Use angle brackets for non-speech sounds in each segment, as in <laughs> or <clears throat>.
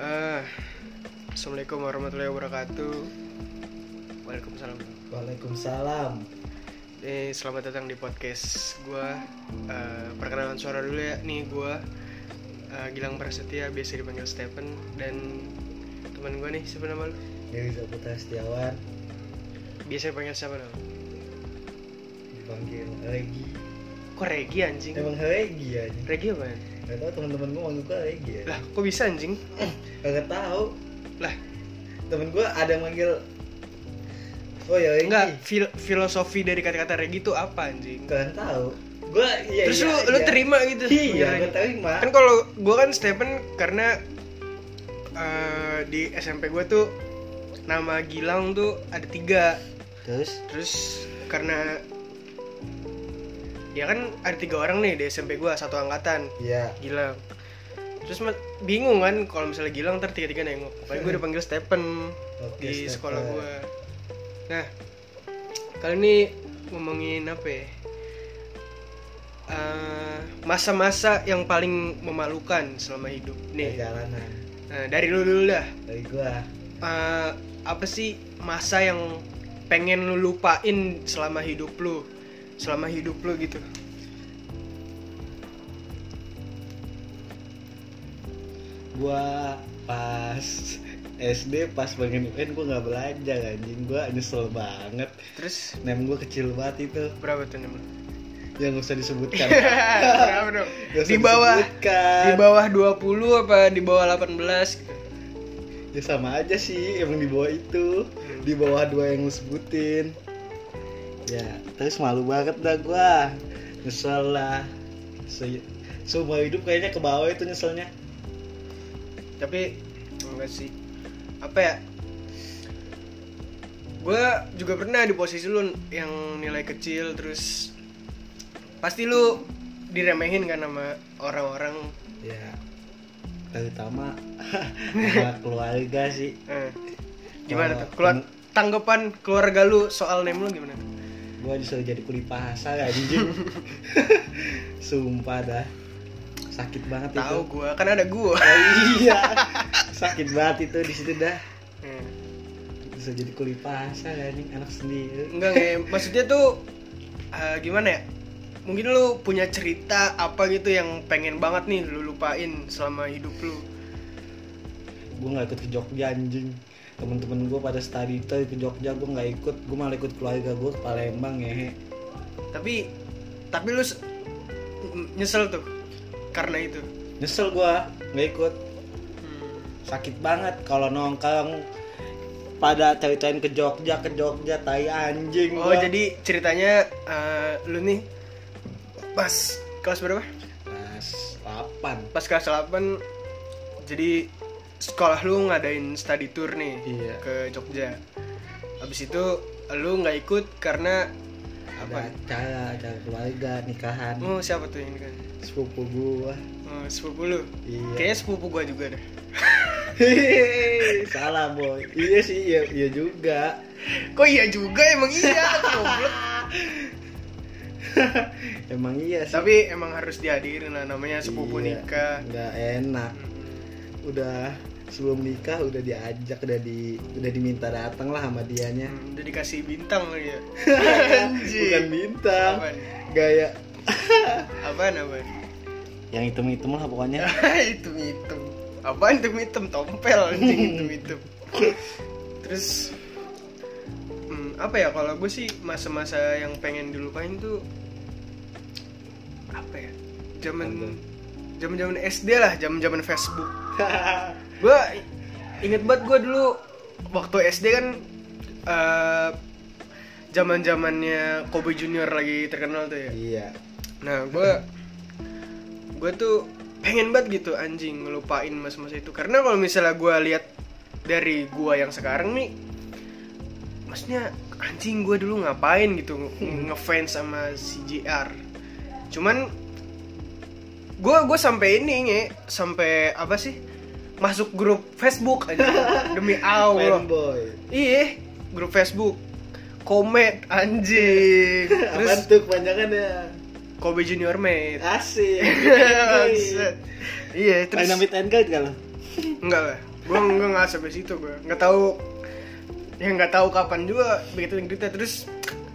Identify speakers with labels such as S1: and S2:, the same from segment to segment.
S1: Eh, Assalamualaikum warahmatullahi wabarakatuh. Waalaikumsalam.
S2: Waalaikumsalam.
S1: Eh, selamat datang di podcast gua. Eh, perkenalan suara dulu ya. Nih gua eh, Gilang Prasetya, biasa dipanggil Stephen dan teman gua nih siapa nama lu?
S2: Dewi Saputra Setiawan
S1: Biasa dipanggil siapa nama? lu?
S2: dipanggil Regi.
S1: Kok Regi anjing?
S2: Emang Regi ya?
S1: Regi apa?
S2: Gak tau teman-teman gue manggil gue Regi ya?
S1: Lah, kok bisa anjing?
S2: Gak tau.
S1: Lah.
S2: Temen gue ada yang manggil Oh ya Regi.
S1: Enggak, fil- filosofi dari kata-kata Regi itu apa anjing?
S2: Kalian tahu. Gue iya
S1: Terus
S2: iya,
S1: lu
S2: iya.
S1: lu terima gitu?
S2: Iya,
S1: Beneran.
S2: gue terima.
S1: kan kalau gue kan Stephen karena eh, di SMP gue tuh nama Gilang tuh ada tiga
S2: Terus
S1: terus karena ya kan ada tiga orang nih di SMP gue satu angkatan
S2: Iya.
S1: Gilang terus ma- bingung kan kalau misalnya Gilang ntar tiga tiga nengok paling gue udah panggil Stephen
S2: Oke,
S1: di
S2: Stephen.
S1: sekolah gue nah kali ini ngomongin apa ya Eh, masa-masa yang paling memalukan selama hidup
S2: Dari
S1: nih
S2: jalanan.
S1: nah, dari lu dulu dah
S2: Dari gue.
S1: Eh, apa sih masa yang pengen lu lupain selama hidup lu selama hidup lu gitu
S2: gua pas SD pas bagian UN gua nggak belajar anjing gua nyesel banget
S1: terus
S2: nem gua kecil banget itu
S1: berapa tuh Nim?
S2: yang gak usah
S1: <laughs>
S2: disebutkan
S1: berapa dong
S2: Nggak usah
S1: di bawah
S2: disebutkan.
S1: di bawah 20 apa di bawah 18 gitu
S2: ya sama aja sih emang di bawah itu
S1: Hmm.
S2: di bawah dua yang lu sebutin ya terus malu banget dah gua nyesel lah Se- seumur hidup kayaknya ke bawah itu nyeselnya
S1: tapi enggak sih apa ya gue juga pernah di posisi lu yang nilai kecil terus pasti lu diremehin kan sama orang-orang
S2: ya terutama <laughs> sama keluarga sih
S1: eh, gimana
S2: Kalau-
S1: tuh keluar tanggapan keluarga lu soal name lu gimana
S2: gua disuruh jadi kuli pasar anjing <laughs> sumpah dah sakit banget
S1: tahu
S2: itu
S1: gue kan ada gue
S2: <laughs> oh, <laughs> iya sakit banget itu di situ dah
S1: Eh,
S2: bisa jadi kuli pasar anjing anak sendiri
S1: enggak nge maksudnya tuh eh, gimana ya mungkin lu punya cerita apa gitu yang pengen banget nih lu lupain selama hidup lu
S2: gua nggak ikut ke Jogja anjing temen-temen gua pada study tour ke Jogja gua nggak ikut gua malah ikut keluarga gua ke Palembang ya
S1: tapi tapi lu se- n- nyesel tuh karena itu
S2: nyesel gua nggak ikut
S1: Hmm.
S2: sakit banget kalau nongkrong pada ceritain ke Jogja ke Jogja tai anjing
S1: oh
S2: gua.
S1: jadi ceritanya eh, lu nih pas kelas berapa
S2: Kelas 8
S1: pas kelas 8 jadi sekolah lu ngadain study tour nih
S2: Iya.
S1: ke Jogja habis itu lu nggak ikut karena
S2: ada
S1: apa
S2: acara acara keluarga nikahan
S1: oh siapa tuh ini kan
S2: sepupu gua
S1: oh, sepupu lu
S2: iya <laughs>
S1: kayaknya sepupu gua juga deh
S2: salah boy iya sih iya, iya juga
S1: kok iya juga emang iya <laughs> goblok.
S2: emang iya sih
S1: tapi emang harus dihadirin lah namanya sepupu
S2: Iya,
S1: nikah Hmm.
S2: nggak enak udah sebelum nikah udah diajak udah di udah diminta datang lah sama dianya
S1: Hmm, udah dikasih bintang lagi <laughs> ya
S2: bukan
S1: anjing
S2: bintang
S1: apaan
S2: gaya
S1: apaan apaan
S2: yang hitam hitam lah pokoknya
S1: itu <laughs> hitam apaan itu hitam tompel anjing <laughs> itu hitam terus hmm, apa ya kalau gue sih masa-masa yang pengen dilupain tuh apa ya zaman zaman zaman SD lah zaman zaman Facebook gue inget banget gue dulu waktu SD kan zaman zamannya Kobe Junior lagi terkenal tuh ya
S2: <laughs> iya
S1: Nah, gue gue tuh pengen banget gitu anjing ngelupain mas-mas itu karena kalau misalnya gue lihat dari gua yang sekarang nih maksudnya anjing gue dulu ngapain gitu
S2: Hmm.
S1: nge- ngefans sama CJR cuman gue gue sampai ini nge sampai apa sih masuk grup Facebook
S2: <laughs>
S1: aja demi Oh, Allah
S2: fanboy
S1: iya grup Facebook komet anjing
S2: <laughs>
S1: terus
S2: apaan tuh kepanjangannya
S1: Kobe Junior mate
S2: asik
S1: Bangsat. Iya, terus
S2: Dynamite Endgame gak lo?
S1: enggak lah. gue nggak nggak sampai situ gue nggak tahu ya nggak tahu kapan juga begitu cerita terus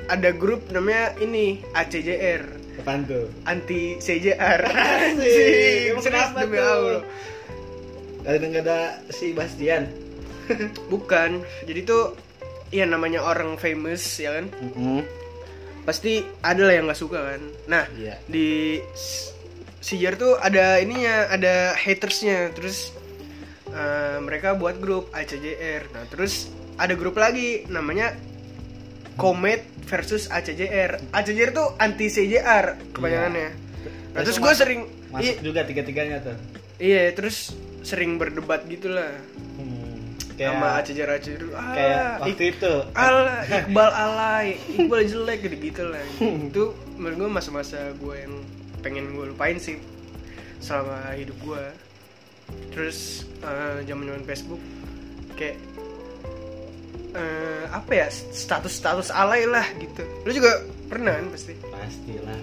S1: ada grup namanya ini ACJR
S2: Apaan tuh?
S1: anti CJR
S2: <laughs> Asik.
S1: anjing
S2: Emang
S1: serius
S2: kenapa
S1: demi
S2: tuh?
S1: Allah
S2: Ada nggak ada si Bastian?
S1: bukan jadi tuh ya namanya orang famous ya kan pasti ada lah yang nggak suka kan nah
S2: Iya.
S1: di CJR tuh ada ininya ada hatersnya terus eh, mereka buat grup ACJR nah terus ada grup lagi namanya Komet versus ACJR ACJR tuh anti CJR kebanyakannya nah, terus gue sering
S2: Iya. Masuk juga tiga-tiganya tuh.
S1: Iya, terus sering berdebat gitulah sama
S2: Hmm. Kayak
S1: acer acer ah,
S2: kayak
S1: Ik-
S2: waktu itu.
S1: ala Iqbal alay Iqbal jelek gitu gitulah itu menurut gue masa-masa gue yang pengen gue lupain sih selama hidup gue terus eh, zaman zaman Facebook kayak eh, apa ya status-status alay lah gitu lu juga pernah kan pasti
S2: Pastilah.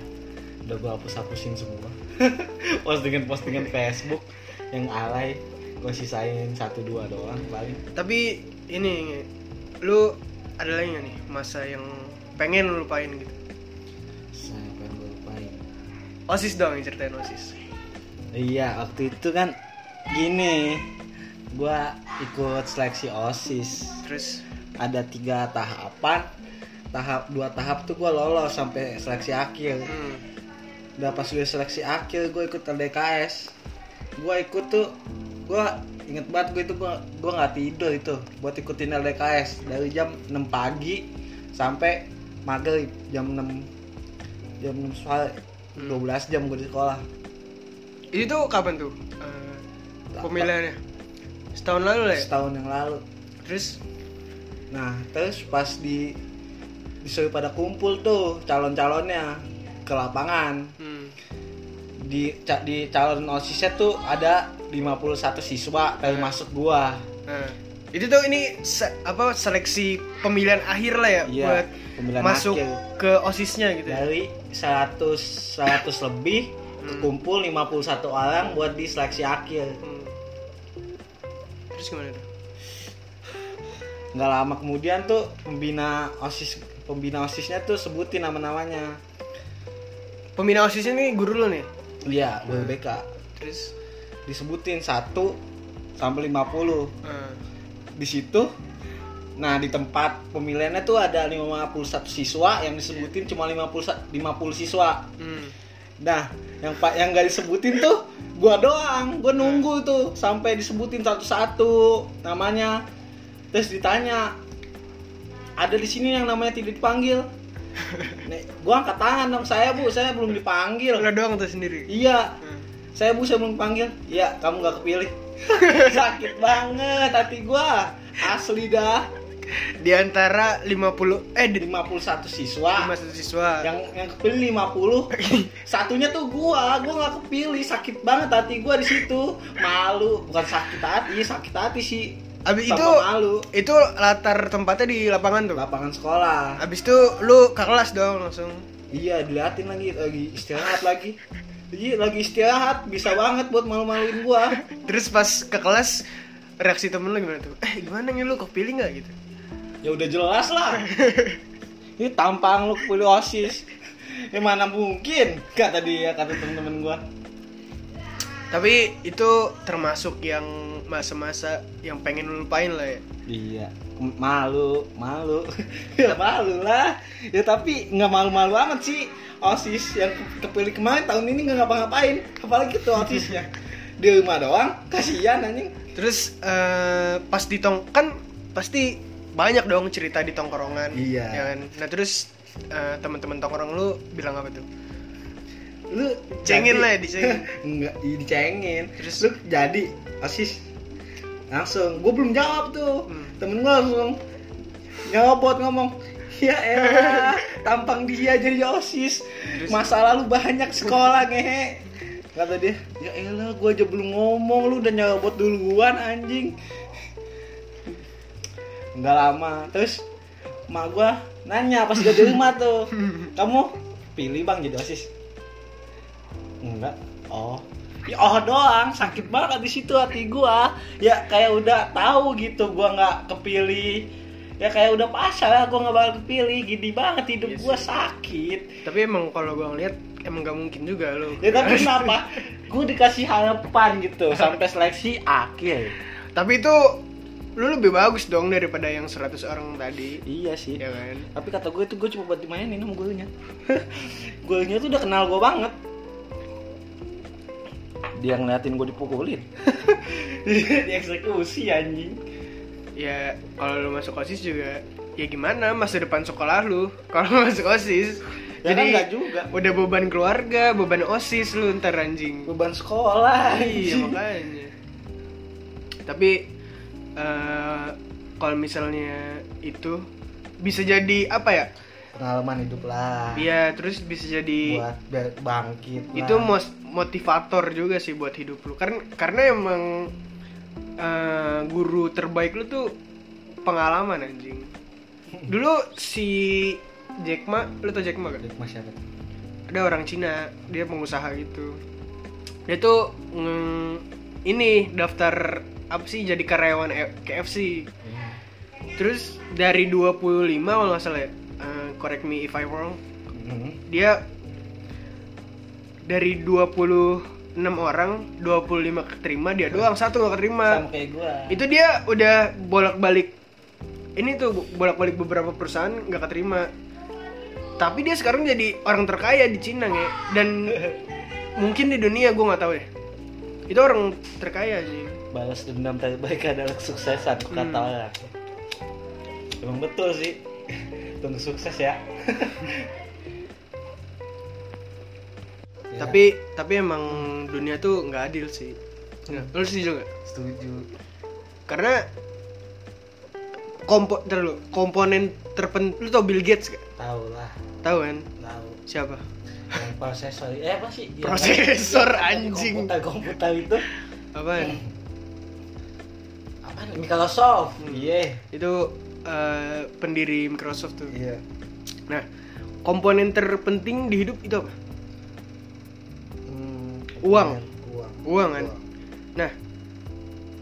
S2: Udah gua hapus-hapusin semua. <laughs> Postingan-postingan Facebook yang alay gua sisain satu dua doang paling.
S1: tapi ini lu ada lagi gak nih masa yang pengen lu lupain gitu
S2: Saya pengen gua lupain.
S1: osis dong yang ceritain osis
S2: Iya, waktu itu kan gini. Gua ikut seleksi OSIS.
S1: terus
S2: ada tiga tahapan tahap dua tahap tuh gue lolos sampai seleksi akhir
S1: hmm,
S2: udah pas gue seleksi akhir gue ikut LDKS gue ikut tuh gue inget banget gue itu gue gue nggak tidur itu buat ikutin LDKS dari jam 6 pagi sampai maghrib jam 6 jam 6 sore 12 jam gue di sekolah
S1: itu tuh kapan tuh Eh, pemilihannya setahun lalu lah ya
S2: setahun yang lalu
S1: terus
S2: Nah, terus pas di disuruh pada kumpul tuh calon-calonnya ke lapangan.
S1: hmm,
S2: Di ca- di calon OSIS-nya tuh ada 51 siswa termasuk gua.
S1: nah, itu tuh ini se- apa seleksi pemilihan akhir lah ya buat
S2: Iya, pemilihan
S1: masuk
S2: akhir.
S1: ke osisnya gitu ya
S2: Dari 100 100 lebih
S1: Hmm.
S2: kumpul 51 orang buat di seleksi akhir.
S1: Hmm. terus gimana tuh
S2: Nggak lama kemudian tuh pembina OSIS pembina OSISnya tuh sebutin nama-namanya.
S1: pembina osisnya nih guru lo nih
S2: Iya,
S1: Hmm.
S2: guru BK.
S1: terus
S2: Disebutin 1 sampai 50.
S1: eh,
S2: di situ nah di tempat pemilihannya tuh ada 51 siswa yang disebutin cuma 50 50 siswa
S1: hmm,
S2: nah yang pak yang gak disebutin tuh gua doang gua nunggu tuh sampai disebutin satu-satu namanya terus ditanya ada di sini yang namanya tidak dipanggil Nih, gua angkat tangan dong saya bu saya belum dipanggil
S1: lo doang tuh sendiri
S2: iya
S1: Hmm.
S2: saya bu saya belum panggil ya kamu nggak kepilih <laughs> sakit banget hati gua asli dah
S1: di antara 50 eh di
S2: 51 siswa
S1: 51 siswa
S2: yang yang kepilih
S1: <laughs>
S2: 50 satunya tuh gua gua nggak kepilih sakit banget hati gua di situ malu bukan sakit hati sakit hati sih
S1: abis
S2: Tambah
S1: itu
S2: malu
S1: itu latar tempatnya di lapangan tuh
S2: lapangan sekolah
S1: Abis itu lu ke kelas dong langsung.
S2: iya diliatin lagi lagi istirahat lagi Iya lagi istirahat bisa banget buat malu-maluin gua
S1: Terus pas ke kelas reaksi temen lu gimana tuh? Eh gimana nih lu kepilih nggak gitu?
S2: ya udah jelas lah
S1: <laughs>
S2: ini tampang lu kepilih osis ya mana mungkin kata dia kata temen-temen gua
S1: Tapi itu termasuk yang masa-masa yang pengen lu lupain lah ya.
S2: iya M- malu malu <laughs> ya malu lah ya tapi nggak malu-malu amat sih osis yang ke- kepilih kemarin tahun ini nggak ngapa-ngapain apalagi tuh osisnya di rumah doang kasihan anjing
S1: Terus eh, pas di tong kan pasti banyak dong cerita di tongkrongan.
S2: Iya.
S1: ya kan? Nah terus eh, teman-teman tongkrong lu bilang apa tuh?
S2: lu
S1: Cengin
S2: jadi-
S1: lah ya,
S2: <laughs>
S1: dicengin.
S2: nggak iya, dicengin
S1: Terus?
S2: terus lu jadi asis langsung gue belum jawab tuh
S1: Hmm.
S2: temen gue langsung nyobot ngomong <laughs> ya
S1: <laughs>
S2: elah tampang dia jadi osis
S1: Terus?
S2: masa lalu banyak sekolah ngehe kata dia ya elah gue aja belum ngomong lu udah nyobot duluan anjing <laughs> nggak lama terus mak gue nanya pas gua di rumah
S1: <laughs>
S2: tuh kamu pilih bang jadi osis enggak oh ya oh doang sakit banget di situ hati gua ya kayak udah tahu gitu gua nggak kepilih ya kayak udah pasal lah gua nggak bakal kepilih gini banget hidup
S1: Iya
S2: gua
S1: sih.
S2: sakit
S1: tapi emang kalau gue ngeliat emang gak mungkin juga lo
S2: ya
S1: <laughs>
S2: tapi kenapa gua dikasih harapan gitu sampai seleksi akhir
S1: tapi itu lu lebih bagus dong daripada yang 100 orang tadi
S2: iya sih
S1: ya kan
S2: tapi kata gue itu gue cuma buat dimainin sama gurunya <laughs> gurunya tuh udah kenal gue banget dia ngeliatin gue dipukulin <laughs> dieksekusi anjing
S1: ya kalau lu masuk osis juga ya gimana masa depan sekolah lu <laughs> kalau masuk osis
S2: ya kan
S1: jadi
S2: nggak juga
S1: udah beban keluarga beban osis lu ntar anjing
S2: beban sekolah
S1: iya <laughs>
S2: anjing.
S1: makanya tapi eh, kalau misalnya itu bisa jadi apa ya
S2: pengalaman hidup lah
S1: ya terus bisa jadi
S2: buat biar bangkit lah.
S1: itu mos- motivator juga sih buat hidup lu karena karena emang eh, guru terbaik lu tuh pengalaman anjing dulu si Jack Ma lu tau Jack Ma gak?
S2: hidup masyarakat
S1: ada orang Cina dia pengusaha gitu dia tuh mm, ini daftar apa sih jadi karyawan E- KFC terus dari 25 kalau nggak salah ya eh, correct me if I wrong
S2: Mhm.
S1: dia dari 26 orang 25 keterima dia doang satu nggak keterima
S2: sama kayak gue
S1: itu dia udah bolak-balik ini tuh bolak-balik beberapa perusahaan nggak keterima tapi dia sekarang jadi orang terkaya di Cina ya dan mungkin di dunia gue nggak tahu deh itu orang terkaya sih
S2: balas dendam terbaik adalah kesuksesan kata
S1: Hmm.
S2: orang emang betul sih tunggu sukses ya Ya,
S1: tapi tapi emang dunia tuh nggak adil sih Nggak, lu setuju nggak
S2: setuju
S1: karena kompo ntar dulu, komponen terpenting lu tau Bill Gates gak
S2: tahu lah
S1: tahu kan
S2: tahu
S1: siapa
S2: yang prosesor eh apa sih Yang
S1: prosesor
S2: ada di
S1: anjing
S2: komputer komputer itu
S1: apaan
S2: apa nih? Microsoft
S1: Hmm.
S2: iya
S1: itu eh, pendiri Microsoft tuh.
S2: iya
S1: Nah, komponen terpenting di hidup itu apa? Hmm, Uang.
S2: uang
S1: Uang kan. Nah,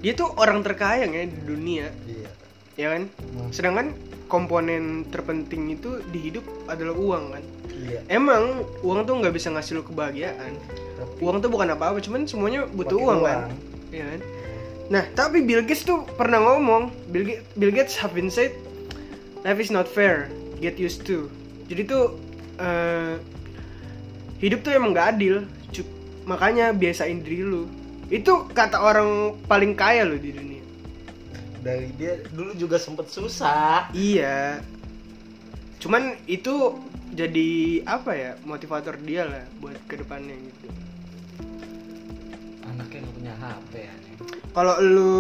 S1: dia tuh orang terkaya ya di dunia,
S2: iya
S1: ya kan?
S2: Hmm.
S1: Sedangkan komponen terpenting itu di hidup adalah uang kan.
S2: iya
S1: Emang uang tuh nggak bisa ngasih lu kebahagiaan.
S2: Tapi
S1: Uang tuh bukan apa-apa, cuman semuanya butuh
S2: pakai
S1: uang, kan. Iya kan? Nah, tapi Bill Gates tuh pernah ngomong, Bill, Ga- Bill Gates have been said, life is not fair, get used to. Jadi tuh eh, hidup tuh emang gak adil, Cu- makanya biasain diri lu. Itu kata orang paling kaya lo di dunia.
S2: dari dia dulu juga sempet susah
S1: Iya. Cuman itu jadi apa ya motivator dia lah buat kedepannya gitu.
S2: anaknya nggak punya HP ya
S1: Kalau lu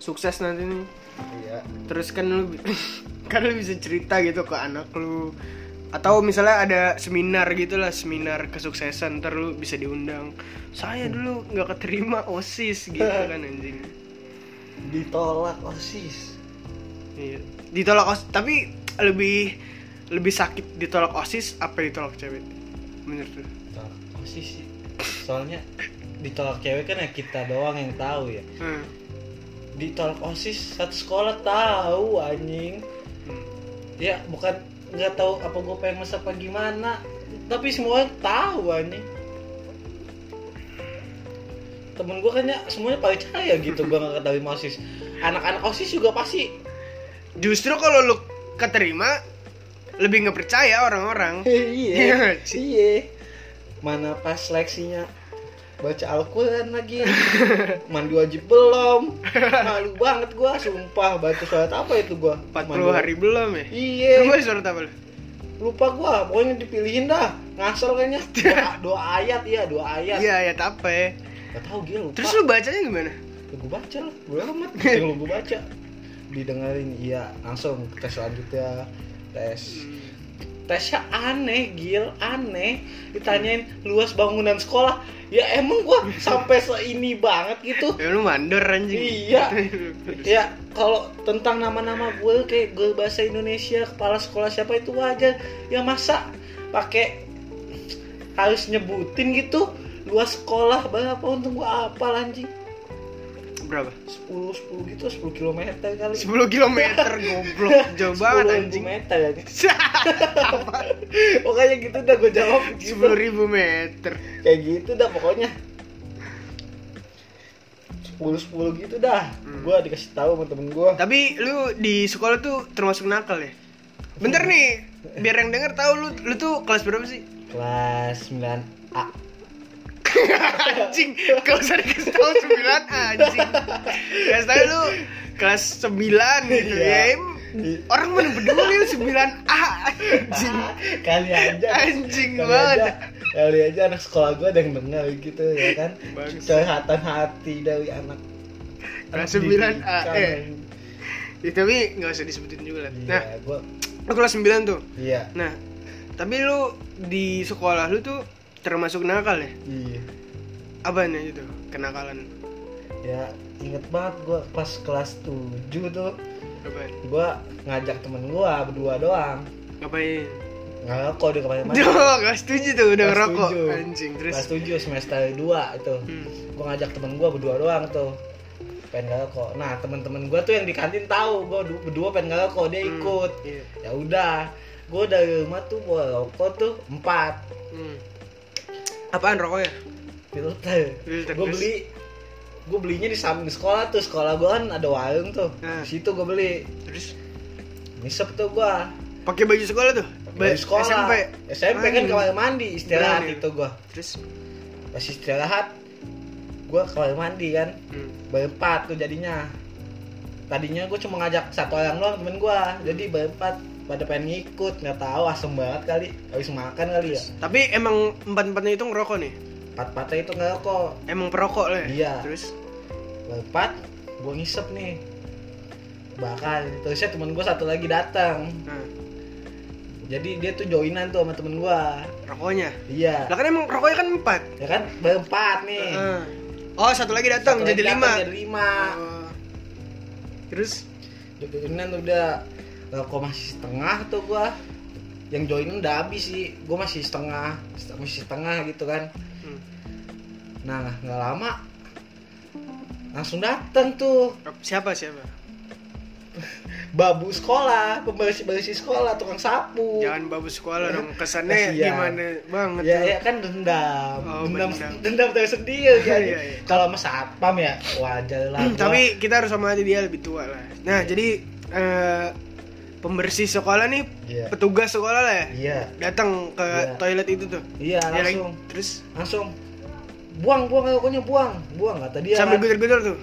S1: sukses nanti nih,
S2: iya
S1: terus kan lu <coughs> kan lu bisa cerita gitu ke anak lu atau misalnya ada seminar gitu lah seminar kesuksesan ntar lu bisa diundang saya dulu nggak keterima <laughs> osis gitu kan anjing
S2: ditolak osis
S1: iya. ditolak osis tapi lebih lebih sakit ditolak osis apa ditolak cewek menurut lu
S2: ditolak osis sih soalnya ditolak cewek kan ya kita doang yang tahu ya
S1: Hmm.
S2: ditolak osis satu sekolah tahu anjing
S1: Hmm.
S2: ya bukan nggak tahu apa gue famous apa gimana tapi semua orang tahu anjing temen gue kan ya semuanya percaya gitu gue nggak ketahui osis anak-anak osis juga pasti
S1: justru kalau lu keterima lebih nggak percaya orang-orang Iya
S2: iya
S1: nggak sih?
S2: iya mana pas seleksinya baca Al-Quran lagi mandi wajib belum malu banget gue sumpah baca surat apa itu gue
S1: 40 hari belum ya
S2: iya
S1: Lu surat apa lu?
S2: lupa gua pokoknya dipilihin dah ngasal
S1: <laughs>
S2: kayaknya doa, doa ayat ya doa ayat
S1: iya ya apa ya
S2: gak tau gila lupa
S1: terus lu Iya. bacanya gimana?
S2: Ya gua baca lah
S1: <laughs>
S2: gua amat yang gua baca didengarin iya langsung ke tes selanjutnya tes tesnya aneh gil aneh ditanyain luas bangunan sekolah ya emang
S1: <laughs>
S2: gua sampai seini banget gitu
S1: Ya lu mandor anjing.
S2: Iya. Ya kalau tentang nama-nama gue kayak gue bahasa Indonesia kepala sekolah siapa itu wajar. Ya masa pakai harus nyebutin gitu Gua sekolah berapa untung gua apa anjing?
S1: <laughs> Berapa?
S2: 10 10 gitu 10 km kali.
S1: 10 km
S2: <laughs>
S1: goblok jauh banget anjing.
S2: meter ya.
S1: <laughs>
S2: Pokoknya gitu dah gua jawab gitu.
S1: 10 ribu meter.
S2: Kayak gitu dah pokoknya. 10 10 gitu dah.
S1: Hmm.
S2: Gua dikasih tahu sama temen gua.
S1: Tapi lu di sekolah tuh termasuk nakal ya? Bentar nih, biar yang denger tahu lu lu tuh kelas berapa sih? <laughs>
S2: Kelas 9A.
S1: anjing, kalau usah dikasih tahu 9 anjing. Kasih tahu lu kelas 9 gitu
S2: Iya.
S1: ya. Em, Orang mana peduli lu 9A anjing.
S2: <laughs> kali aja
S1: Anjing
S2: kali
S1: banget.
S2: aja, kali aja anak sekolah gue ada yang dengar gitu ya kan
S1: Bagus.
S2: curhatan hati dari anak
S1: Kelas 9A, eh.
S2: eh
S1: Ya, <laughs> tapi nggak usah disebutin juga lah. Nah,
S2: nah gue
S1: lu kelas 9 tuh.
S2: iya
S1: Nah, tapi lu di sekolah lu tuh termasuk nakal ya?
S2: iya
S1: Apaan ya itu? Kenakalan.
S2: ya inget banget gue pas kelas 7 tuh
S1: Apaan?
S2: gue ngajak temen gue berdua doang
S1: Ngapain?
S2: ngerokok di kamar
S1: <laughs>
S2: mandi
S1: Duh, kelas 7 tuh udah
S2: Kelas
S1: ngerokok
S2: tujuh.
S1: anjing. Terus
S2: kelas 7 semester 2 itu
S1: Hmm.
S2: gue ngajak temen gue berdua doang tuh pengen ngerokok nah temen-temen gue tuh yang di kantin tahu gue berdua pengen ngerokok dia ikut
S1: Iya.
S2: ya udah gue dari rumah tuh bawa rokok tuh empat
S1: Hmm. Apaan rokoknya?
S2: filter
S1: Filter,
S2: gue
S1: terus?
S2: beli gue belinya di samping sekolah tuh sekolah gue kan ada warung tuh
S1: Ah.
S2: di situ gue beli
S1: Terus
S2: ngisep tuh gue
S1: pakai baju sekolah tuh?
S2: dari
S1: Ba-
S2: sekolah
S1: SMP.
S2: SMP kan
S1: Anjing.
S2: kamar mandi istirahat
S1: Berani.
S2: itu gue
S1: Terus
S2: pas istirahat gue kamar mandi kan
S1: hmm.
S2: berempat tuh jadinya tadinya gue cuma ngajak satu orang doang temen gue jadi berempat pada pengen ngikut nggak tahu asem banget kali habis makan kali ya
S1: Tapi emang empat-empatnya itu ngerokok nih?
S2: empat empatnya itu ngerokok
S1: Emang perokok lah ya?
S2: Iya.
S1: Terus
S2: berempat gue ngisep nih bakal terusnya temen gue satu lagi datang
S1: nah,
S2: jadi dia tuh joinan tuh sama temen gue
S1: rokoknya.
S2: iya
S1: Lah kan emang rokoknya kan empat
S2: ya kan berempat nih
S1: Heeh. Oh, satu lagi datang
S2: Satu lagi
S1: jadi
S2: datang,
S1: lima
S2: jadi lima
S1: Oh. Terus
S2: joinan udah rokok masih setengah tuh gue yang joinan udah habis sih gue masih setengah set- masih setengah gitu kan
S1: hmm.
S2: nah nggak lama langsung datang tuh
S1: siapa siapa?
S2: babu sekolah pembersih bersih sekolah tukang sapu
S1: Jangan babu sekolah dong. Kesannya
S2: Kasihan.
S1: gimana banget
S2: ya,
S1: <clears throat> tuh.
S2: ya kan dendam.
S1: Oh,
S2: dendam,
S1: dendam.
S2: dendam,
S1: <laughs>
S2: tersendiri
S1: Iya,
S2: kan.
S1: iya, iya.
S2: Kalau sama satpam ya wajar lah.
S1: Hmm,
S2: gua. Iya.
S1: tapi kita harus sama aja dia lebih tua lah. Nah, jadi eh, pembersih sekolah nih,
S2: Iya.
S1: petugas sekolah lah ya.
S2: iya,
S1: Datang ke
S2: Iya.
S1: toilet itu tuh.
S2: iya
S1: Dia lagi-
S2: langsung,
S1: terus
S2: langsung buang buang pokoknya buang buang kata dia
S1: sambil
S2: kan.
S1: gedor-gedor tuh.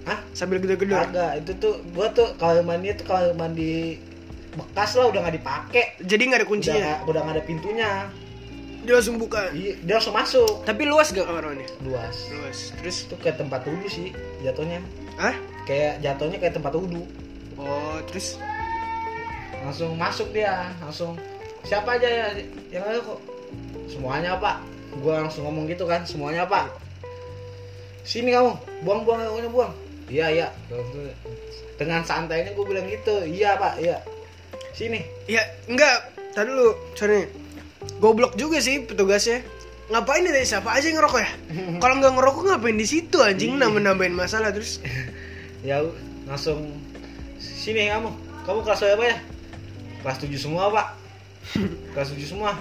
S2: Hah?
S1: Sambil gedor-gedor.
S2: Kagak, itu tuh gua tuh kalau mandi tuh kalau mandi bekas lah udah nggak dipakai
S1: Jadi nggak ada
S2: udah
S1: kuncinya.
S2: nggak- udah nggak ada pintunya
S1: Dia langsung buka.
S2: Iya, dia langsung masuk
S1: Tapi luas gak kamar mandinya?
S2: luas
S1: Luas. Terus
S2: itu kayak tempat wudhu sih jatuhnya
S1: Hah?
S2: kayak jatuhnya kayak tempat wudhu
S1: Oh, terus
S2: langsung masuk dia langsung siapa aja ya yang ada kok semuanya pak gue langsung ngomong gitu kan semuanya pak sini kamu buang buang pokoknya buang iya iya dengan santainya gue bilang gitu iya pak iya sini
S1: Ya, enggak. Tadi dulu, sorry. Goblok juga sih petugasnya. Ngapain nih siapa aja yang ngerokok
S2: <laughs>
S1: ya? Kalau nggak ngerokok ngapain di situ anjing
S2: Iya.
S1: nambah-nambahin masalah terus.
S2: ya langsung sini kamu kamu kelas berapa ya kelas 7 semua pak kelas 7 semua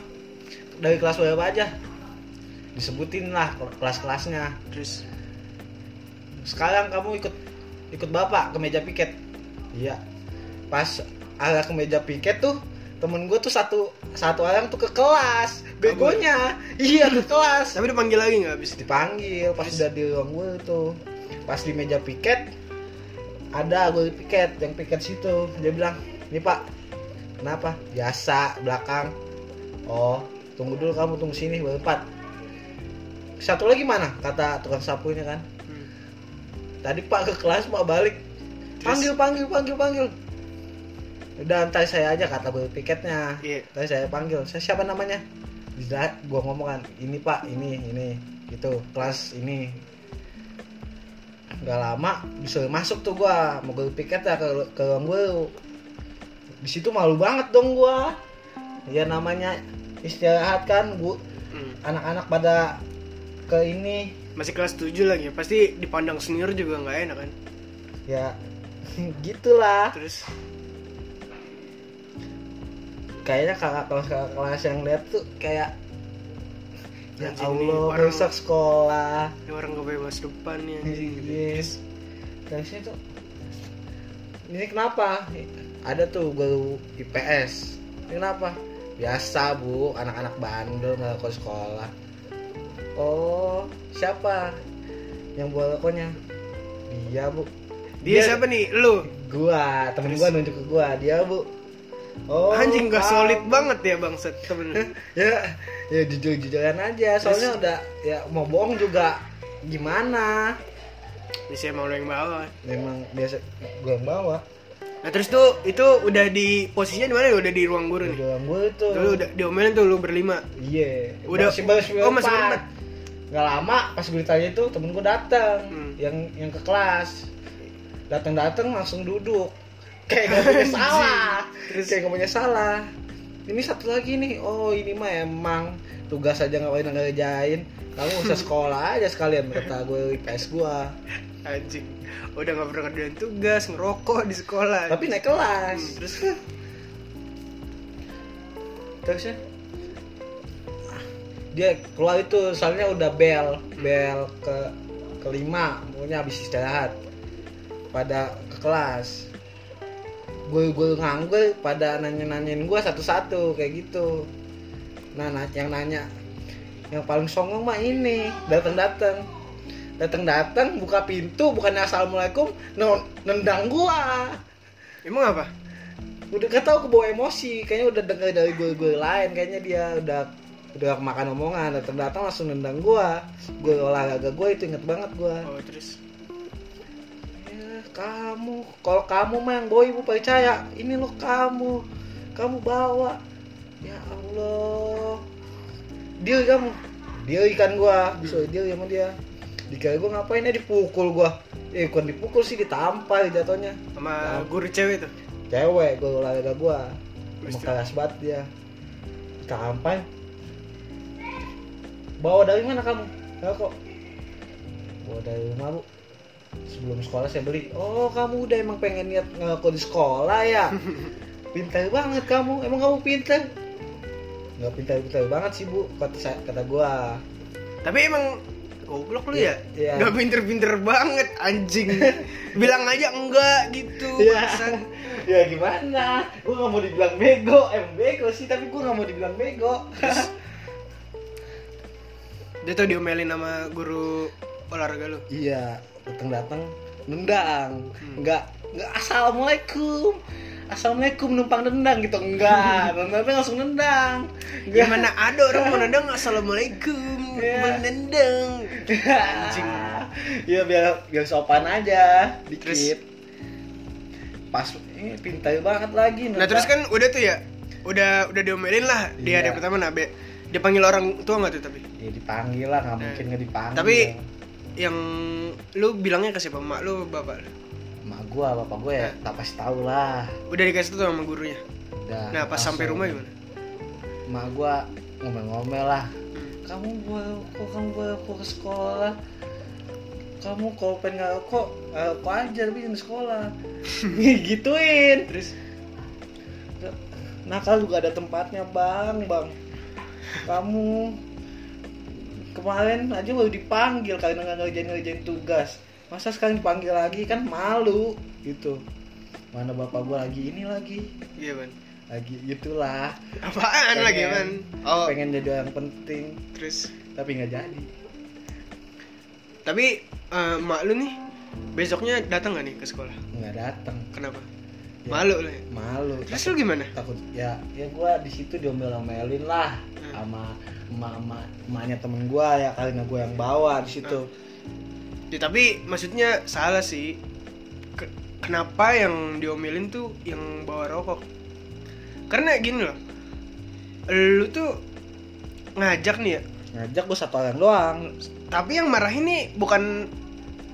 S2: dari kelas berapa aja disebutin lah kelas-kelasnya
S1: Terus
S2: sekarang kamu ikut ikut bapak ke meja piket iya pas arah ke meja piket tuh temen gue tuh satu satu orang tuh ke kelas begonya iya ke kelas
S1: tapi dipanggil lagi nggak habis itu.
S2: dipanggil pas udah di ruang gue tuh pas di meja piket ada gue piket yang piket situ dia bilang nih pak kenapa biasa belakang oh tunggu dulu kamu tunggu sini berempat satu lagi mana kata tukang sapunya kan
S1: Hmm.
S2: tadi pak ke kelas pak balik panggil
S1: Terus?
S2: panggil panggil panggil udah ntar saya aja kata gue piketnya
S1: Iya.
S2: tadi saya panggil saya siapa namanya Dila, gue ngomong kan ini pak ini ini gitu kelas ini nggak lama bisa masuk tuh gua mau gue piket ya ke ke ruang gue di situ malu banget dong gua ya namanya istirahat kan bu
S1: Hmm.
S2: anak-anak pada ke ini
S1: masih kelas 7 lagi pasti dipandang senior juga nggak enak kan
S2: ya <laughs> gitulah
S1: terus
S2: kayaknya kakak kelas kakak kelas yang lihat tuh kayak ya
S1: Anjing nih,
S2: Allah
S1: orang-
S2: merusak sekolah
S1: ini orang gak bebas depan nih anjing gitu.
S2: Iya. Terusnya tuh ini kenapa? Ada tuh guru IPS. Ini kenapa? Biasa bu, anak-anak bandel nggak ke sekolah. Oh, siapa yang buat lakonnya? Dia bu.
S1: dia siapa nih lu
S2: Gua, temen
S1: Terus?
S2: gua nunjuk ke gua. Dia bu. Oh,
S1: anjing gak
S2: Pak.
S1: solid banget ya bangset temen
S2: Ya, ya jujur-jujuran aja. Soalnya udah ya mau bohong juga gimana?
S1: bisa emang lu yang bawa
S2: Memang biasa gua yang bawa.
S1: nah terus tuh itu udah di posisinya di mana ya? udah di ruang guru nih
S2: Dalam gue tuh.
S1: Tuh, lu udah diomelin tuh lu berlima
S2: Iya.
S1: Udah-
S2: Masih baru sembilan
S1: oh, masih
S2: empat.
S1: berempat.
S2: Nggak lama pas gue ditanya itu temen gue datang
S1: Hmm.
S2: yang yang ke kelas. Datang datang langsung duduk. Kayak gak punya
S1: <laughs> Anjing.
S2: salah.
S1: Terus?
S2: Kayak gak punya salah. Ini satu lagi nih. Oh ini mah emang tugas aja nggak pernah ngerjain. Kamu usah
S1: <laughs>
S2: sekolah aja sekalian kata gue IPS gue.
S1: anjing udah gak pernah kerjaan tugas ngerokok di sekolah
S2: Tapi naik kelas.
S1: Ya. Hmm, terus?
S2: Terusnya ya? dia keluar itu soalnya udah bel bel ke kelima pokoknya habis istirahat pada ke kelas gue gue nganggur pada nanya nanyain gue satu satu kayak gitu nah, na- yang nanya yang paling songong mah ini datang datang datang datang buka pintu bukannya assalamualaikum no- nendang gua
S1: emang apa
S2: udah gak tau kebawa emosi kayaknya udah denger dari gue gue lain kayaknya dia udah udah makan omongan datang datang langsung nendang gue gue olahraga gue itu inget banget gue
S1: oh terus
S2: "Eh, kamu kalau kamu mah yang gue ibu percaya ini lo kamu kamu bawa ya allah dia kamu dia ikan gue so dia sama dia dikira gue ngapain ya dipukul gue eh bukan dipukul sih ditampar jatuhnya Nah.
S1: sama guru cewek tuh
S2: cewek gue olahraga gue
S1: Terus
S2: emang keras banget dia kampanye bawa dari mana kamu ya kok bawa dari rumah bu sebelum sekolah saya beli oh kamu udah emang pengen niat ngaku di sekolah ya pintar banget kamu emang kamu pintar nggak pintar-pintar banget sih bu kata saya kata gua
S1: tapi emang goblok lu ya
S2: Iya, iya.
S1: Gak pinter-pinter banget
S2: <laughs>
S1: anjing Bilang aja enggak gitu
S2: Iya.
S1: bangsat.
S2: <laughs> ya gimana gue nggak mau dibilang bego emang bego sih tapi gue nggak mau dibilang bego
S1: Dia tuh diomelin sama guru olahraga lu
S2: Iya, datang-datang nendang.
S1: Hmm.
S2: Enggak, enggak assalamualaikum. Assalamualaikum numpang nendang gitu
S1: <laughs>
S2: enggak. Datang-datang langsung nendang. Enggak.
S1: Gimana ada orang mau nendang Assalamualaikum
S2: Iya.
S1: Menendang
S2: Anjing. Iya biar biar sopan aja dikit.
S1: Terus?
S2: Pas ini pintar banget lagi
S1: Nah terus kan udah tuh ya Udah udah diomelin lah Dia
S2: Iya.
S1: ada pertama nah be Dia panggil orang tua nggak tuh tapi
S2: ya dipanggil lah, nggak
S1: Eh.
S2: mungkin nggak dipanggil.
S1: Tapi Yang lu bilangnya ke siapa mak lu bapak lu
S2: mak gua, bapak gua
S1: Eh.
S2: ya, tak pasti tahu lah.
S1: Udah dikasih tuh sama gurunya
S2: Udah.
S1: Nah pas sampai
S2: langsung.
S1: rumah gimana
S2: Mak gua ngomel-ngomel lah kamu baru kok kamu baru kok ke sekolah kamu kalau pengen nggak kok kok aja tapi jangan sekolah <laughs> gituin
S1: Terus
S2: nakal juga ada tempatnya bang bang kamu kemarin aja baru dipanggil karena nggak ngerjain ngerjain tugas masa sekarang dipanggil lagi kan malu gitu mana bapak gua lagi ini lagi
S1: Gimana
S2: lagi gitulah
S1: Iya, Apaan
S2: Pengen.
S1: lagi man Oh
S2: pengen jadi orang penting
S1: terus
S2: tapi nggak jadi
S1: Tapi eh, mak lu nih Besoknya datang gak nih ke sekolah
S2: nggak datang
S1: Kenapa
S2: Ya.
S1: Malu lu ya
S2: malu
S1: Terus lu gimana
S2: takut ya ya gue di situ diomelin lah
S1: Hmm.
S2: sama mama emaknya temen gue ya karena gue yang bawa di situ
S1: Ya, tapi maksudnya salah sih. Ke- kenapa yang diomelin tuh yang bawa rokok? Karena gini loh. Lu tuh ngajak nih ya.
S2: ngajak gue satu orang doang
S1: Tapi yang marah ini bukan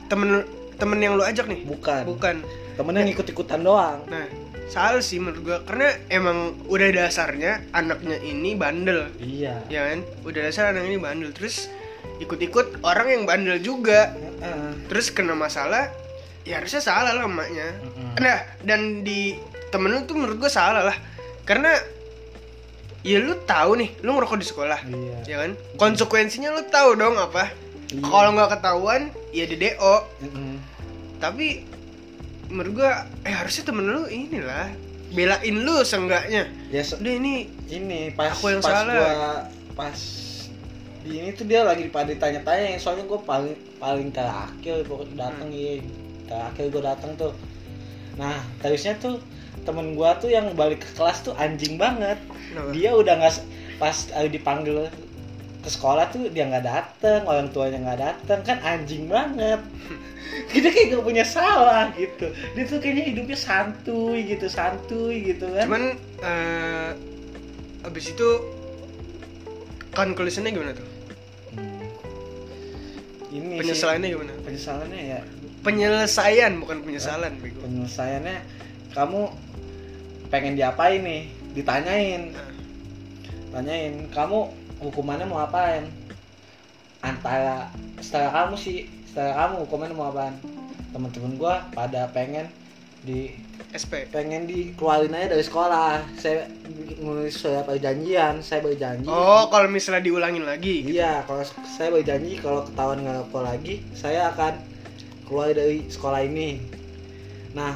S1: temen temen yang lu ajak nih.
S2: bukan,
S1: Bukan.
S2: temennya ngikut ikutan doang
S1: Nah, salah sih menurut gua karena emang udah dasarnya anaknya ini bandel.
S2: iya
S1: Ya kan? Udah dasar anak ini bandel terus ikut-ikut orang yang bandel juga
S2: Heeh.
S1: terus kena masalah ya harusnya salah lah emaknya
S2: Heeh.
S1: nah dan di temen lu tuh menurut gue salah lah karena ya lu tahu nih lu ngerokok di sekolah
S2: Iya.
S1: ya kan konsekuensinya lu tahu dong apa
S2: Iya.
S1: kalau nggak ketahuan ya di do
S2: Heeh.
S1: tapi menurut gua eh harusnya temen lu inilah belain lu seenggaknya
S2: Ya se-
S1: udah ini
S2: ini pas
S1: Aku yang
S2: pas
S1: salah.
S2: gua pas di ini tuh dia lagi pada tanya-tanya soalnya gue paling paling terakhir pokoknya datang
S1: Hmm.
S2: iya terakhir gue datang tuh nah terusnya tuh temen gua tuh yang balik ke kelas tuh anjing banget
S1: kenapa?
S2: dia udah nggak s- pas eh, dipanggil ke sekolah tuh dia nggak datang orang tuanya nggak datang kan anjing
S1: <laughs>
S2: banget kita kayak gak punya salah gitu dia tuh kayaknya hidupnya santuy gitu santuy gitu kan
S1: cuman eh abis itu conclusionnya gimana tuh
S2: Hmm. ini Iya sih,
S1: penyesalannya gimana
S2: penyesalannya ya
S1: penyelesaian bukan penyesalan bego
S2: penyelesaiannya kamu pengen diapain nih ditanyain tanyain kamu hukumannya mau apain antara setelah kamu sih setelah kamu hukumannya mau apain temen-temen gua pada pengen di
S1: SP
S2: pengen dikeluarin aja dari sekolah saya nulis surat perjanjian saya berjanji
S1: oh kalau misalnya diulangin lagi
S2: Iya, kalau saya berjanji kalau ketahuan nggak ngerokok lagi, saya akan keluar dari sekolah ini. Nah,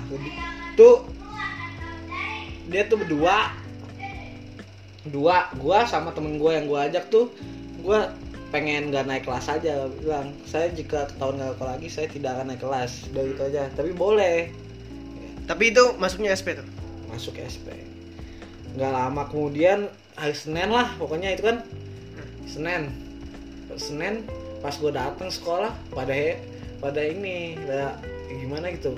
S2: itu dia tuh berdua, dua, gua sama temen gua yang gua ajak tuh, gua pengen nggak naik kelas aja gua bilang saya jika ketahuan nggak ngerokok lagi saya tidak akan naik kelas udah gitu aja tapi boleh
S1: tapi itu masuknya SP tuh
S2: masuk SP nggak lama kemudian hari Senin lah pokoknya itu kan Senin Senin pas gue datang sekolah pada he- pada ini pada gimana gitu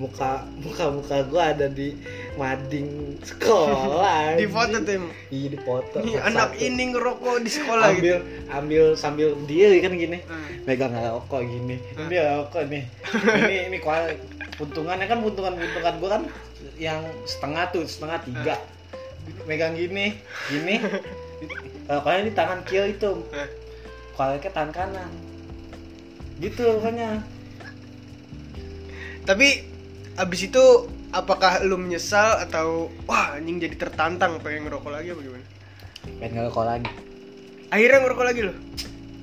S2: muka muka muka gue ada di mading sekolah
S1: <laughs> di foto tuh emang.
S2: iya di foto
S1: Nih,
S2: satu-satu.
S1: anak ini ngerokok di sekolah
S2: ambil
S1: gitu
S2: ambil sambil dia kan gini
S1: Hmm.
S2: megang rokok gini
S1: Hah?
S2: ini rokok nih ini ini kual puntungannya kan puntungan puntungan gue kan yang setengah tuh setengah tiga megang gini gini rokoknya di tangan kiri itu
S1: Hah?
S2: kualnya tangan kanan gitu pokoknya
S1: Tapi abis itu apakah lu menyesal atau wah anjing jadi tertantang pengen ngerokok lagi apa gimana?
S2: pengen nggak rokok lagi
S1: Akhirnya ngerokok lagi loh.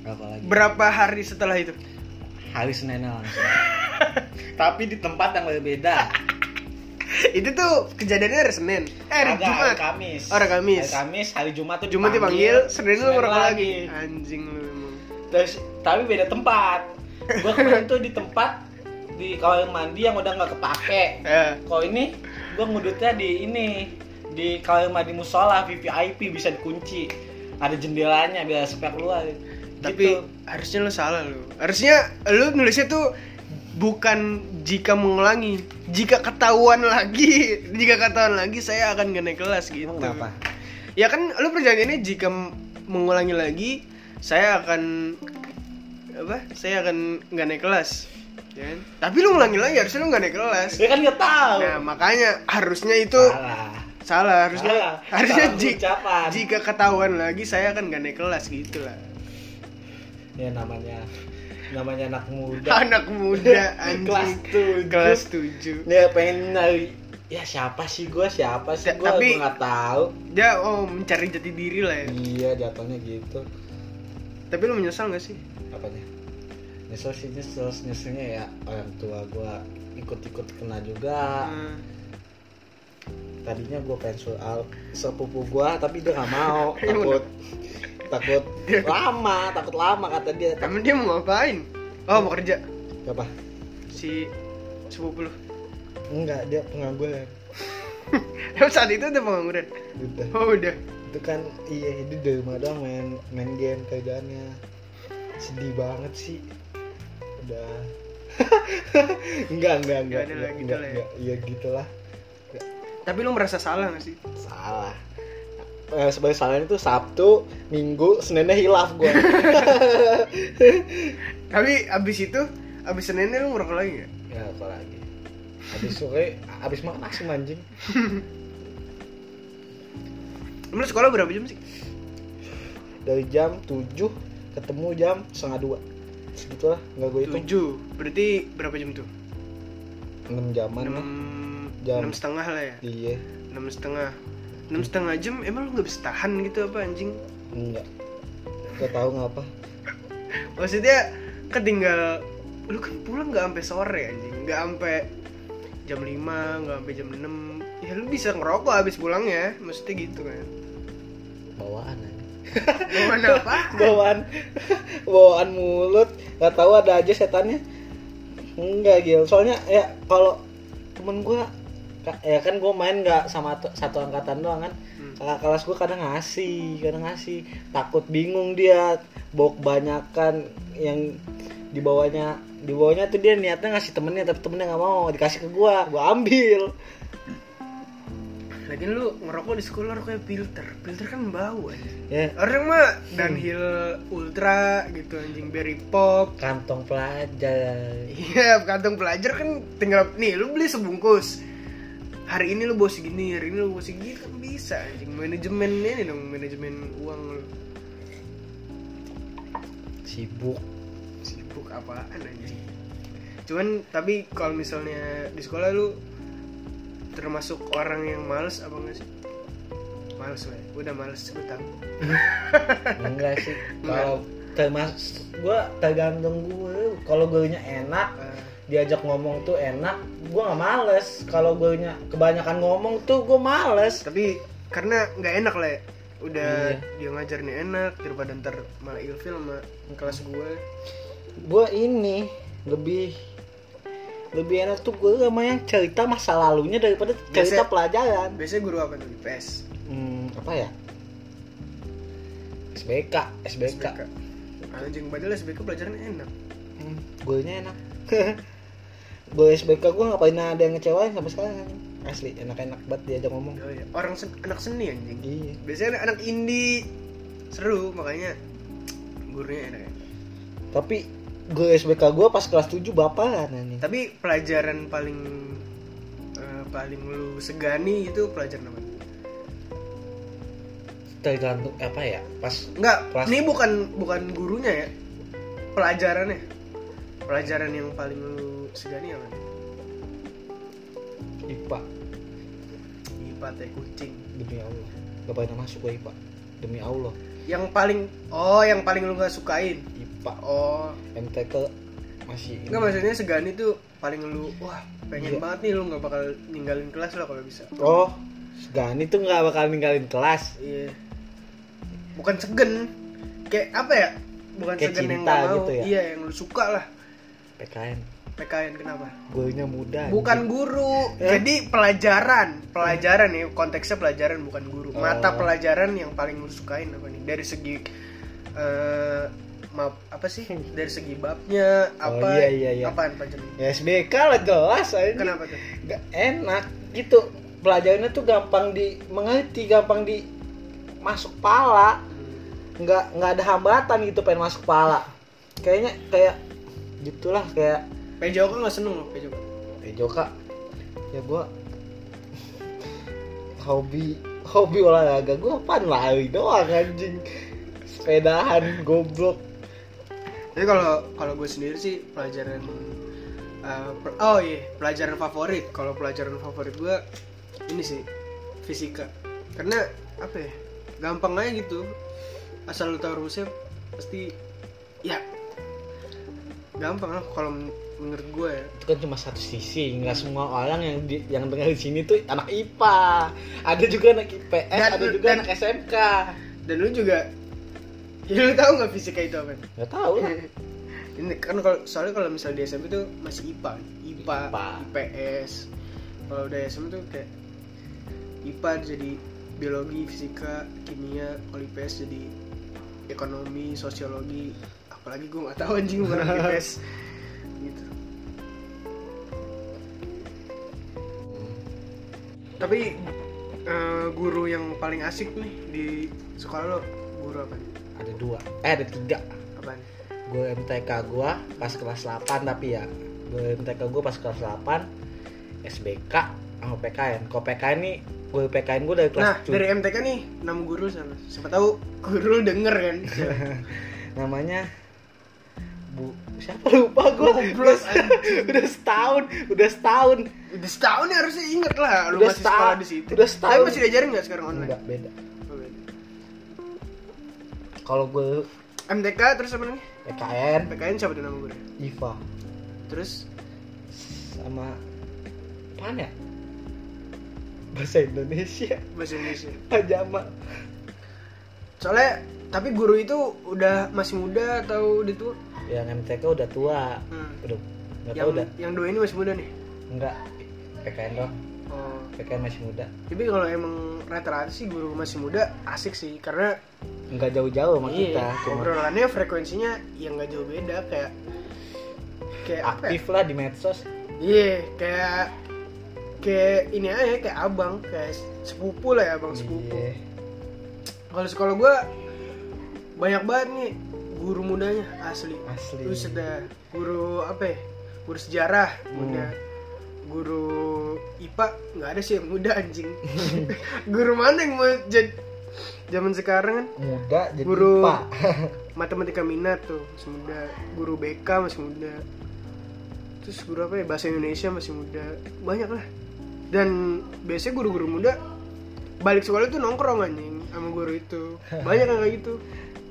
S2: rokok lagi
S1: Berapa hari setelah itu? <laughs>
S2: hari senin langsung tapi di tempat yang berbeda
S1: itu tuh kejadiannya hari Senin. Eh, hari
S2: Agak,
S1: Jumat.
S2: hari Kamis
S1: Oh, hari Kamis.
S2: hari Kamis hari Jumat tuh
S1: Jumat dipanggil, Senin lu ngerokok lagi.
S2: lagi.
S1: Anjing lu emang.
S2: Terus tapi beda tempat. Gua kemarin tuh di tempat di kamar mandi yang udah nggak kepake.
S1: Eh,
S2: Kalau ini gua ngudutnya di ini di kamar mandi musola VVIP bisa dikunci. Ada jendelanya biar sepek keluar.
S1: tapi
S2: Gitu.
S1: harusnya lu salah lu. Harusnya lu nulisnya tuh bukan jika mengulangi, jika ketahuan lagi, <laughs> jika ketahuan lagi saya akan gak naik kelas gitu.
S2: Emang Oh, kenapa?
S1: Ya kan lu perjanjiannya jika m- mengulangi lagi saya akan apa? Saya akan nggak naik kelas. Ya kan? Tapi lu ngulangi lagi harusnya lu nggak naik kelas.
S2: Dia kan nggak tahu.
S1: Nah, makanya harusnya itu
S2: Salah.
S1: salah, harusnya
S2: Salah.
S1: harusnya
S2: Salah
S1: ji-
S2: ucapan.
S1: jika ketahuan lagi saya akan nggak naik kelas gitu lah.
S2: Ya namanya namanya anak
S1: <laughs>
S2: muda.
S1: Anak muda
S2: Kelas
S1: anjing
S2: tujuh.
S1: kelas 7.
S2: Dia pengen nyari ya siapa sih gua siapa sih
S1: Ta-
S2: gua
S1: tapi-
S2: gua nggak tahu
S1: Dia oh mencari jati diri lah ya.
S2: iya jatuhnya gitu
S1: Tapi lu menyesal gak sih?
S2: apanya nyesel sih nyesel nyeselnya ya orang tua gua ikut-ikut kena juga
S1: Eh,
S2: tadinya gua pengen soal sepupu gua tapi dia nggak
S1: <laughs>
S2: mau
S1: Iya,
S2: takut takut lama takut lama kata dia tak
S1: Eh, emang dia mau ngapain? Oh, mau kerja
S2: apa
S1: si sepupu lu. <laughs>
S2: enggak dia pengangguran
S1: Emang saat itu udah pengangguran.
S2: udah
S1: Oh, udah.
S2: itu kan iya itu dari rumah doang main main game kerjaannya sedih banget sih udah <laughs> enggak enggak enggak
S1: Nggak ada lah, gitu lah ya.
S2: iya gitulah
S1: Tapi lu merasa salah gak sih?
S2: salah eh, sebagai salahnya itu Sabtu Minggu Seninnya hilaf
S1: <laughs>
S2: gue
S1: Tapi abis itu abis Seninnya lu ngerokok lagi gak?
S2: ya apa lagi habis sore habis makan asem anjing
S1: Lu sekolah berapa jam sih?
S2: dari jam 7 ke ketemu jam setengah dua segitulah nggak gue hitung
S1: tujuh berarti berapa jam tuh
S2: enam jaman
S1: enam
S2: lah Jam.
S1: enam setengah lah ya
S2: iya
S1: enam setengah enam setengah jam emang lu nggak bisa tahan gitu apa anjing
S2: enggak nggak tahu ngapa
S1: maksudnya ketinggal lu kan pulang nggak sampai sore anjing nggak sampai jam 5, nggak sampai jam 6 ya lu bisa ngerokok habis pulangnya maksudnya gitu kan
S2: bawaan aja.
S1: gimana apa
S2: <laughs> bawaan bawaan mulut nggak tahu ada aja setannya enggak gil soalnya ya kalau temen gue ya kan gue main nggak sama tu- satu angkatan doang kan
S1: Hmm.
S2: kakak kelas gue kadang ngasih kadang ngasih takut bingung dia bawa kebanyakan yang dibawanya dibawanya tuh dia niatnya ngasih temennya tapi temennya nggak mau dikasih ke gue gue ambil
S1: lagi lu ngerokok di sekolah kayak filter filter kan bau anjing Hmm.
S2: ya
S1: orang mah downhill ultra gitu anjing berry pop <laughs>
S2: kantong pelajar
S1: Iya, kantong pelajar kan tinggal nih lu beli sebungkus. Hari ini lu bawa segini, hari ini lu bawa segini kan bisa anjing manajemen ini dong, manajemen uang lu.
S2: sibuk
S1: Sibuk apaan anjing. Cuman tapi kalau misalnya di sekolah lu termasuk orang yang males apa enggak sih? Males lah, ya. udah males gue tahu.
S2: enggak sih kalau termas gue tergantung gue kalau gue enak
S1: Eh,
S2: diajak ngomong tuh enak gue nggak males kalau gue kebanyakan ngomong tuh gue males
S1: tapi karena nggak enak lah ya. Udah
S2: Iya.
S1: dia ngajar nih enak daripada ntar malah ilfil sama kelas gue.
S2: gue ini lebih lebih enak tuh gue sama yang cerita masa lalunya daripada cerita
S1: Biasa-
S2: pelajaran
S1: Biasanya guru apa tuh? IPS.
S2: hmm, apa ya SBK SBK,
S1: SBK. Anjing padahal SBK pelajaran enak.
S2: Hmm, gue enak <laughs> gue SBK gue nggak pernah ada yang ngecewain sampai sekarang asli enak-enak banget diajak ngomong
S1: Oh, iya. Orang sen- anak seni anjing.
S2: Iya.
S1: Biasanya anak indie seru makanya gurunya enak. ya.
S2: Tapi gue SBK gue pas kelas 7 baparan anjing.
S1: Tapi pelajaran paling eh, paling lu segani itu pelajaran apa?
S2: Tergantung apa ya? Pas
S1: Enggak,
S2: Kelas-
S1: ini bukan bukan gurunya ya. Pelajarannya. Pelajaran yang paling lu segani apa?
S2: IPA
S1: IPA teh kucing.
S2: demi Allah. Gak pernah masuk gue IPA demi Allah.
S1: Yang paling oh, yang paling lu nggak sukain.
S2: IPA
S1: Oh,
S2: MTK masih ini.
S1: Enggak maksudnya segani tuh paling lu wah pengen
S2: Iya.
S1: banget nih lu nggak bakal ninggalin kelas lah kalau bisa.
S2: Oh, Gani tuh nggak bakal ninggalin kelas.
S1: Iya. Bukan segen. Kayak apa ya? Bukan
S2: Kayak
S1: segen yang
S2: cinta
S1: nggak mau.
S2: gitu ya?
S1: Iya, yang lu suka lah.
S2: PKN.
S1: PKN kenapa?
S2: Gurunya muda.
S1: Bukan guru.
S2: Eh.
S1: Jadi pelajaran, pelajaran ya konteksnya pelajaran bukan guru. Mata
S2: Oh.
S1: pelajaran yang paling lu sukain apa nih? Dari segi eh maaf, apa sih? Dari segi babnya
S2: Oh,
S1: apa?
S2: iya, iya, iya.
S1: Apaan pelajaran?
S2: Ya SBK lah jelas anjing.
S1: Kenapa tuh?
S2: Nggak enak gitu. Pelajarannya tuh gampang di mengerti, gampang di masuk pala. nggak nggak ada hambatan gitu pengen masuk kepala kayaknya kayak gitulah kayak
S1: Pejo kan nggak seneng loh Pejo.
S2: eh Joka ya gua <laughs> hobi hobi olahraga gua apaan lari doang anjing sepedahan goblok
S1: Tapi kalau kalau gue sendiri sih pelajaran eh, per- oh iya pelajaran favorit kalau pelajaran favorit gue ini sih fisika karena apa ya gampang aja gitu asal lu tahu rumusnya pasti ya gampang lah kalau men- menurut gue ya
S2: itu kan cuma satu sisi nggak semua orang yang di, yang dengar di sini tuh anak IPA ada juga anak IPS
S1: Dan-
S2: ada juga
S1: dan-
S2: anak SMK
S1: dan lu juga ya lu tahu nggak fisika itu apa
S2: nggak tahu lah
S1: <laughs> ini kan kalau soalnya kalau misalnya di SMP tuh masih IPA IPA,
S2: IPA.
S1: IPS kalau udah SMP tuh kayak IPA jadi biologi fisika kimia kalau IPS jadi ekonomi sosiologi apalagi gue nggak tahu anjing bukan anak IPS gitu tapi eh, guru yang paling asik nih di sekolah lo guru apa nih
S2: ada dua eh ada tiga
S1: apa nih
S2: gue MTK gue pas kelas 8 tapi ya gue MTK gue pas kelas 8 SBK sama PKN kok PKN nih gue PKN gue dari kelas
S1: Nah, dari MTK nih, 6 guru sana. Siapa tahu guru lu denger kan.
S2: namanya Bu siapa lupa gua <laughs>
S1: Goblok, anjing.
S2: udah setahun udah setahun
S1: Udah setahun ya harusnya inget lah lu
S2: Udah
S1: masih sekolah
S2: setahun-
S1: di situ.
S2: udah setahun.
S1: Tapi masih diajarin nggak sekarang online?
S2: enggak beda kalau gue
S1: MTK terus apa namanya?
S2: PKN
S1: PKN siapa tuh nama gue?
S2: IVA
S1: Terus
S2: sama apaan ya bahasa Indonesia <laughs>
S1: bahasa Indonesia.
S2: pajama
S1: Soalnya tapi guru itu udah masih muda atau udah tua?
S2: yang MTK udah tua
S1: Hmm.
S2: udah nggak
S1: Yang
S2: tahu udah
S1: yang dua ini masih muda nih.
S2: enggak PKN doang
S1: Oh.
S2: PKN masih muda
S1: Tapi kalau emang rata-rata sih guru masih muda asik sih karena
S2: enggak jauh-jauh
S1: Iya.
S2: sama kita cuma
S1: obrolannya frekuensinya yang nggak jauh beda kayak kayak apa ya?
S2: aktif lah di medsos
S1: Iya, kayak kayak ini aja ya, kayak abang, kayak sepupu lah ya abang sepupu.
S2: Iya.
S1: Kalau sekolah gua banyak banget nih guru mudanya asli.
S2: asli
S1: Terus ada guru apa ya? Guru sejarah muda.
S2: Hmm.
S1: Guru IPA nggak ada sih yang muda anjing. <laughs> guru mana yang mau jadi zaman sekarang kan
S2: muda jadi
S1: Guru.
S2: IPA.
S1: matematika minat tuh masih muda guru BK masih muda terus guru apa ya bahasa Indonesia masih muda banyak lah dan biasanya guru-guru muda balik sekolah tuh nongkrong anjing sama guru itu banyak yang kayak gitu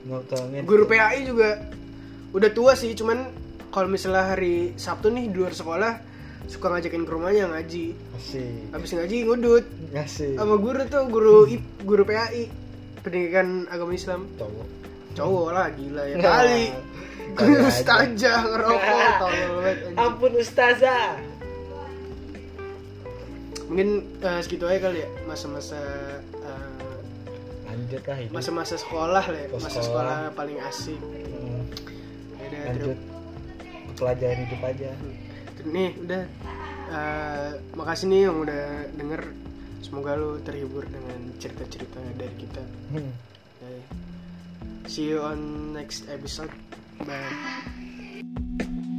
S2: Nongkrongnya
S1: guru PAI juga udah tua sih cuman kalau misalnya hari Sabtu nih di luar sekolah suka ngajakin ke rumahnya ngaji
S2: asik
S1: habis ngaji ngudut
S2: ngasih
S1: sama guru tuh guru I- guru PAI pendidikan agama Islam
S2: cowok
S1: cowok lah gila ya
S2: Nah.
S1: kali
S2: Kali aja.
S1: ustazah ngerokok
S2: <laughs>
S1: tolol banget anjing.
S2: ampun ustazah
S1: mungkin eh, segitu aja kali ya masa-masa eh,
S2: lanjut lah hidup
S1: masa-masa sekolah lah ya
S2: Masa
S1: masa
S2: sekolah.
S1: sekolah paling asik Ya
S2: Hmm,
S1: Yaudah, terus-
S2: lanjut ke pelajaran hidup aja
S1: terus nih udah Eh, makasih nih yang udah denger semoga lu terhibur dengan cerita-cerita dari kita
S2: Hmm.
S1: Eh, see you on next episode bye